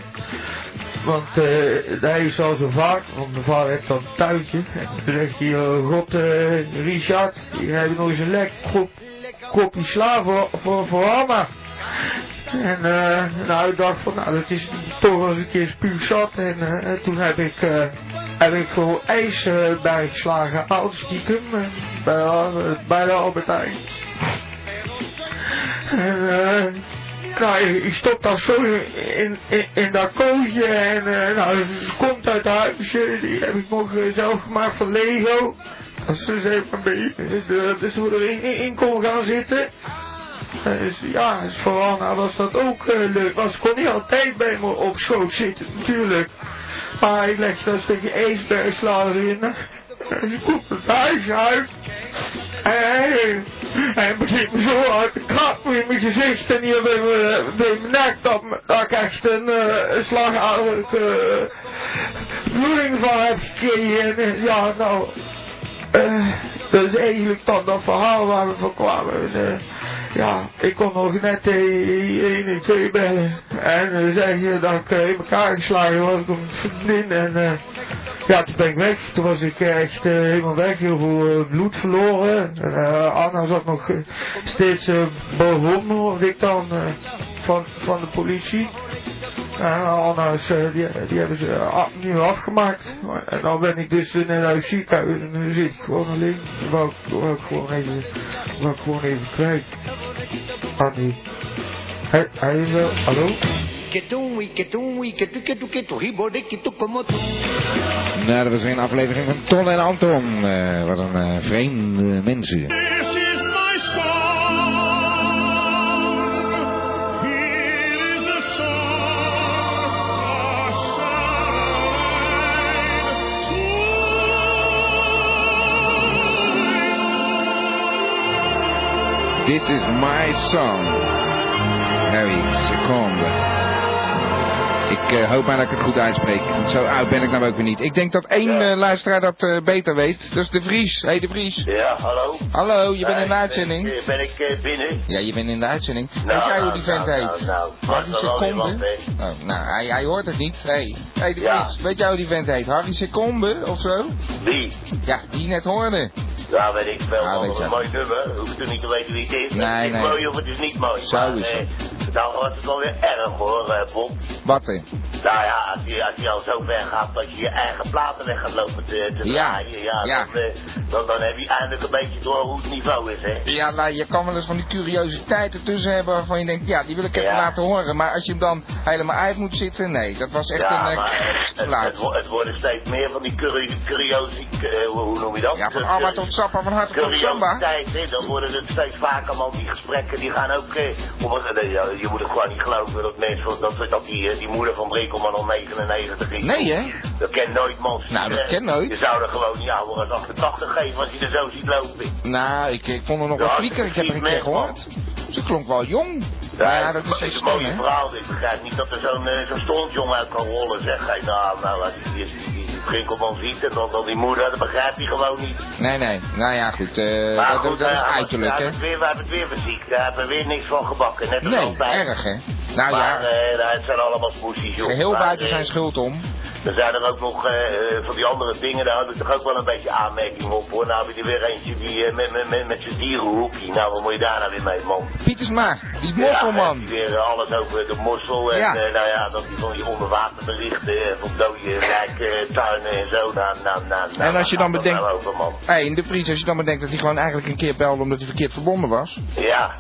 S11: Want eh, hij is al zo vaak, want mijn vader heeft dan een tuintje. En toen zegt hij, eh, god eh, Richard, hier heb je nog eens een lek kop, kopje sla voor, voor, voor Anna. En eh, nou, ik dacht van, nou, dat is toch wel eens een keer spuugzat. En eh, toen heb ik, eh, heb ik gewoon ijs eh, bijgeslagen, oud stiekem, eh, bij, de Al- eh, bij de Albert Heijn. En eh, nou, ik, ik stop daar zo in, in, in dat kootje en eh, nou, het komt uit het huisje. Die heb ik nog eh, zelf gemaakt van Lego. Dat is dus even een beetje, eh, dat is hoe er in, in, in kon gaan zitten. Dus ja, dus voor Anna was dat ook eh, leuk. Want ze kon niet altijd bij me op schoot zitten, natuurlijk. Maar ik legde een stukje eesbergsla erin. En ze komt het huisje uit. En hij begint me zo hard te krappen in mijn gezicht en hier bij mijn, eh, bij mijn nek dat, me- dat ik echt een eh, slagaderlijke eh, bloeding van heb gekregen. En, eh, ja, nou, eh, dat is eigenlijk dan dat verhaal waar we van kwamen. En, eh, ja, ik kon nog net eh, 1 en 2 bellen. En eh, zeggen dat ik eh, in elkaar geslagen was door mijn vriendin. En eh, ja, toen ben ik weg. Toen was ik echt eh, helemaal weg. Heel veel eh, bloed verloren. En, eh, Anna zat nog eh, steeds eh, bovenop me, hoorde ik dan, eh, van, van de politie. En anders, eh, die, die hebben ze eh, af- nu afgemaakt. En dan ben ik dus in een ziekenhuis en nu zit ik gewoon alleen. Dan wou ik, wou ik gewoon even, wou ik gewoon even kwijt. Aan die... Hij, hij is wel... Hallo?
S2: Nou, dat was weer een aflevering van Ton en Anton. Eh, wat een eh, vreemde mensen.
S3: This is my song.
S2: This is my song. Harry, seconde. Ik eh, hoop maar dat ik het goed uitspreek. Want Zo oud ben ik nou ook weer niet. Ik denk dat één eh, luisteraar dat eh, beter weet. Dat is De Vries. Hé, hey, De Vries.
S10: Ja, hallo?
S2: Hallo, je bent in de
S10: Eh,
S2: uitzending.
S10: Ben ik, eh, ben ik eh, binnen?
S2: Ja, je bent in de uitzending. weet jij hoe die vent
S10: nou,
S2: heet?
S10: Nou, nou,
S2: Harry
S10: was er wel weer wat
S2: Secombe?
S10: mee.
S2: Oh, nou, hij, hij hoort het niet. Hé, hey. hey, De
S10: Ja.
S2: Vries. Weet jij hoe die vent heet? Harry Secombe of zo?
S10: Wie?
S2: Ja, die je net hoorde.
S10: Ja, weet ik wel.
S2: Ja,
S10: maar
S2: Ah, weet
S10: wat
S2: je.
S10: een mooi nummer. Hoef je toen niet te weten wie het is.
S2: Nee,
S10: het is
S2: nee.
S10: mooi of het is niet mooi.
S2: Zo
S10: maar,
S2: is het.
S10: eh, nou wordt het wel weer erg hoor, eh, Bob.
S2: Wat eh? hè?
S10: Nou ja, als je, als je al zo ver gaat dat je je eigen platen weg gaat lopen te, te
S2: Ja,
S10: draaien. Ja,
S2: ja.
S10: Dan, eh, dan, dan heb je eindelijk een beetje door hoe het niveau is, hè.
S2: Ja, nou, je kan wel eens van die curiositeiten tussen hebben waarvan je denkt, ja, die wil ik even
S10: Ja.
S2: laten horen. Maar als je hem dan helemaal uit moet zitten, nee, dat was echt
S10: ja,
S2: een... eh,
S10: maar het, het,
S2: plaat.
S10: het wo- het worden steeds meer van die curie- curiosi... eh, hoe hoe noem je dat?
S2: ja, van
S10: Eh,
S2: Abba tot Sappa, van Harte tot Samba.
S10: Curiositeit, hè, dan worden het steeds vaker, man. Die gesprekken die gaan ook. eh, om, het- eh, ja, je moet het gewoon niet geloven dat mensen. dat, dat die, eh, die moeder van Brinkelman al 99 is.
S2: Nee, hè?
S10: Dat kent nooit, man.
S2: Nou, dat
S10: Eh,
S2: kent nooit.
S10: Je zou er gewoon niet ouder als 88 geven als je er zo ziet lopen.
S2: Nou, ik, ik vond hem nog
S10: Ja,
S2: wel flieker, ik heb er een keer
S10: precies, man.
S2: gehoord. Ze klonk wel jong. Maar ja, dat
S10: Eh,
S2: is
S10: het
S2: een
S10: een
S2: stem,
S10: mooie
S2: hè?
S10: verhaal. dit. Ik begrijp niet dat er zo'n eh, zo'n stondjong uit kan rollen. Zeg hij, nou, nou, als je die, die, die Brinkelman ziet en dan, dan die moeder, dat begrijpt hij gewoon niet.
S2: Nee, nee, nou ja, goed, eh,
S10: Maar
S2: dat,
S10: goed,
S2: dat is
S10: eh,
S2: uiterlijk,
S10: we
S2: hè?
S10: hebben het weer- We hebben het weer verziekt, daar hebben we weer niks van gebakken. Net als
S2: Nee,
S10: altijd.
S2: erg, hè? Nou
S10: maar
S2: ja,
S10: eh, nou, het zijn allemaal smoesies, joh.
S2: geheel
S10: Maar,
S2: buiten
S10: eh,
S2: zijn schuld om.
S10: Er zijn er ook nog eh, eh, van die andere dingen, daar had ik toch ook wel een beetje aanmerking op, hoor. Nou heb je er weer eentje die eh, met, met, met, met zijn dierenhoekje. Nou, wat moet je daar nou weer mee, man?
S2: Oh, Pietersma, die
S10: Ja, eh,
S2: mosselman.
S10: weer eh, alles over de mossel en
S2: Ja.
S10: eh, nou ja, dat die van die onderwaterberichten eh, van dode rijke tuinen en zo. Nou, nou, nou, nou,
S2: En als je
S10: nou,
S2: dan
S10: nou, nou,
S2: bedenkt-
S10: over, man.
S2: Hé, in de Vries, als je dan bedenkt dat hij gewoon eigenlijk een keer belde omdat hij verkeerd verbonden was.
S10: Ja,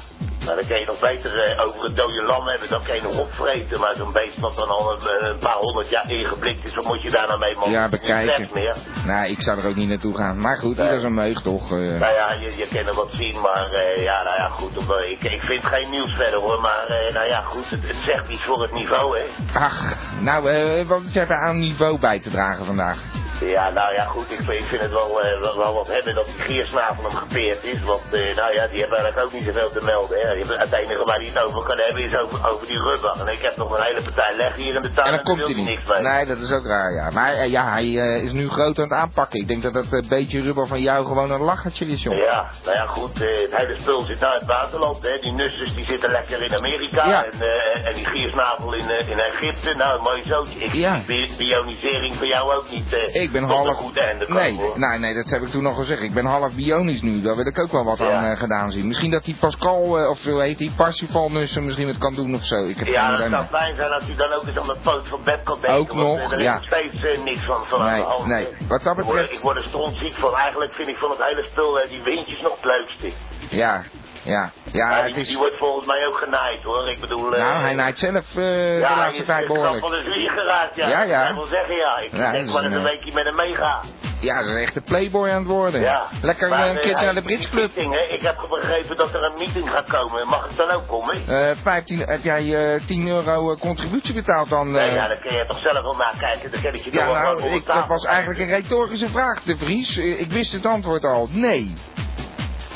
S10: maar dan kun je nog beter eh, over het dode lam hebben, dan kun je nog opvreten. Maar zo'n beest dat dan al een, een paar honderd jaar ingeblikt is, wat moet je daar nou mee, man?
S2: Ja,
S10: Niet
S2: bekijken.
S10: vet meer.
S2: Nou, ik zou er ook niet naartoe gaan. Maar goed, dat is een meug toch. eh.
S10: Nou ja, je, je kan er wat zien, maar eh, ja, nou ja, goed. op- eh, Ik, ik vind geen nieuws verder hoor, maar eh, nou ja, goed, het, het zegt iets voor het niveau, hè.
S2: Ach, nou, eh, wat hebben we aan niveau bij te dragen vandaag?
S10: Ja, nou ja, goed, ik, vind- ik vind het wel, eh, wel, wel wat hebben dat die giersnavel hem gepeerd is. Want eh, nou ja, die hebben eigenlijk ook niet zoveel te melden. Hè. Die hebben- Het enige waar die het over kan hebben is over, over die rubber. En ik heb nog een hele partij leg hier in de tuin
S2: En
S10: en,
S2: dan
S10: daar
S2: komt
S10: wil
S2: hij
S10: hij
S2: niet.
S10: niks mee.
S2: Nee, dat is ook raar, ja. Maar eh, ja, hij eh, is nu groot aan het aanpakken. Ik denk dat dat eh, beetje rubber van jou gewoon een lachertje is, jongen.
S10: Ja, nou ja, goed, eh, het hele spul zit nou in het buitenland. Hè. Die nussers die zitten lekker in Amerika
S2: Ja.
S10: en, eh, en die giersnavel in, eh, in Egypte. Nou, mooi zootje. Ik
S2: Ja.
S10: zie bi- bionisering voor jou ook niet eh,
S2: Ik ben
S10: tot een
S2: half...
S10: goed einde komen,
S2: nee,
S10: hoor.
S2: nee, nee, dat heb ik toen nog gezegd. Ik ben half bionisch nu. Daar wil ik ook wel wat
S10: Ja.
S2: aan eh, gedaan zien. Misschien dat die Pascal, eh, of hoe heet die, Parsifal Nussen misschien wat kan doen of zo. Ik heb geen
S10: Ja,
S2: idee
S10: dat
S2: meer.
S10: zou fijn zijn als u dan ook eens aan de poot van bed kan denken.
S2: Ook
S10: want,
S2: nog,
S10: eh, er is
S2: ja.
S10: nog steeds eh, niks van, van aan
S2: Nee,
S10: de hand.
S2: nee. Wat dat
S10: Ik word-
S2: betreft-
S10: Ik word er strontziek van. Eigenlijk vind ik van het hele spul eh, die windjes nog het leukste.
S2: Ja, ja. Ja,
S10: Maar
S2: het
S10: die,
S2: is...
S10: die wordt volgens mij ook genaaid hoor. Ik bedoel... eh,
S2: Nou, hij naait zelf eh, de
S10: ja,
S2: laatste tijd behoorlijk.
S10: Ja, is drie geraakt, ja.
S2: Ja, ja.
S10: Ik wil zeggen, ja. Ik
S2: Ja, dat
S10: denk
S2: is
S10: wel eens
S2: een,
S10: een
S2: eh,
S10: weekje met hem meega.
S2: Ja, dat is echt een playboy aan het worden.
S10: Ja.
S2: Lekker
S10: Maar,
S2: eh, een
S10: eh, hij-
S2: keertje naar de Brits
S10: die
S2: Club.
S10: meeting, hè, Ik heb begrepen dat er een meeting gaat komen. Mag ik dan ook komen?
S2: Eh, 15, heb jij eh, 10 euro eh, contributie betaald dan? eh?
S10: Nee, ja, dan kun je toch zelf wel nakijken. Dan kan ik je
S2: Ja,
S10: toch wel
S2: nou,
S10: gewoon
S2: ik,
S10: onder
S2: dat
S10: tafel
S2: was eigenlijk een
S10: zetten.
S2: retorische vraag, De Vries. Eh, Ik wist het antwoord al. Nee.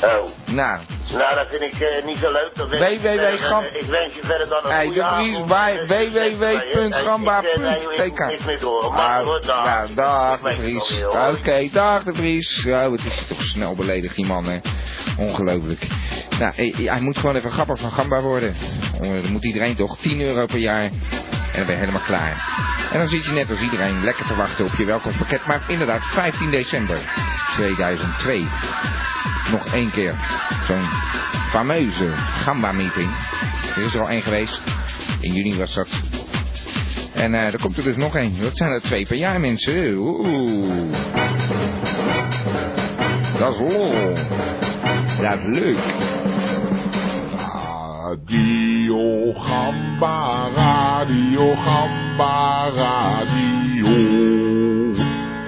S10: Oh.
S2: Nou,
S10: Nou, dat vind ik eh, niet zo leuk. Dat wens ik je
S2: www.
S10: verder, eh,
S2: Gam-
S10: Ik wens je verder dan een
S2: Hey,
S10: goede
S2: de Vries
S10: avond.
S2: bij
S10: Eh, Ik, eh, nee,
S2: www.gamba.tk.
S10: ik moet niks meer te horen. Maar
S2: nou,
S10: hoor, dag.
S2: nou, dag
S10: Ik weet
S2: De
S10: het
S2: Vries.
S10: alweer, hoor.
S2: Oké, dag De Vries. Ja, wat is hij toch snel beledigd, die man, hè. Ongelooflijk. Nou, eh, eh, hij moet gewoon even grappig van gamba worden. Oh, Dat moet iedereen toch. 10 euro per jaar. En dan ben je helemaal klaar. En dan zit je net als iedereen lekker te wachten op je welkomstpakket. Maar inderdaad, 15 december 2002. Nog één keer. Zo'n fameuze gamba-meeting. Er is er al één geweest. In juni was dat. En eh, er komt er dus nog één. Dat zijn er twee per jaar, mensen. Oeh. Dat is lol. Dat is leuk.
S3: Radio Gamba, Radio Gamba, Radio.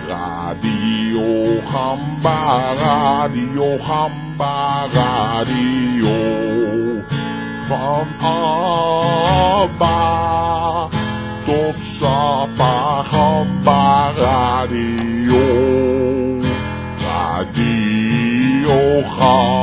S3: Radio Gamba, Radio Gamba, Radio. Van Abba tot Sapa Gamba, Radio. Radio Gamba.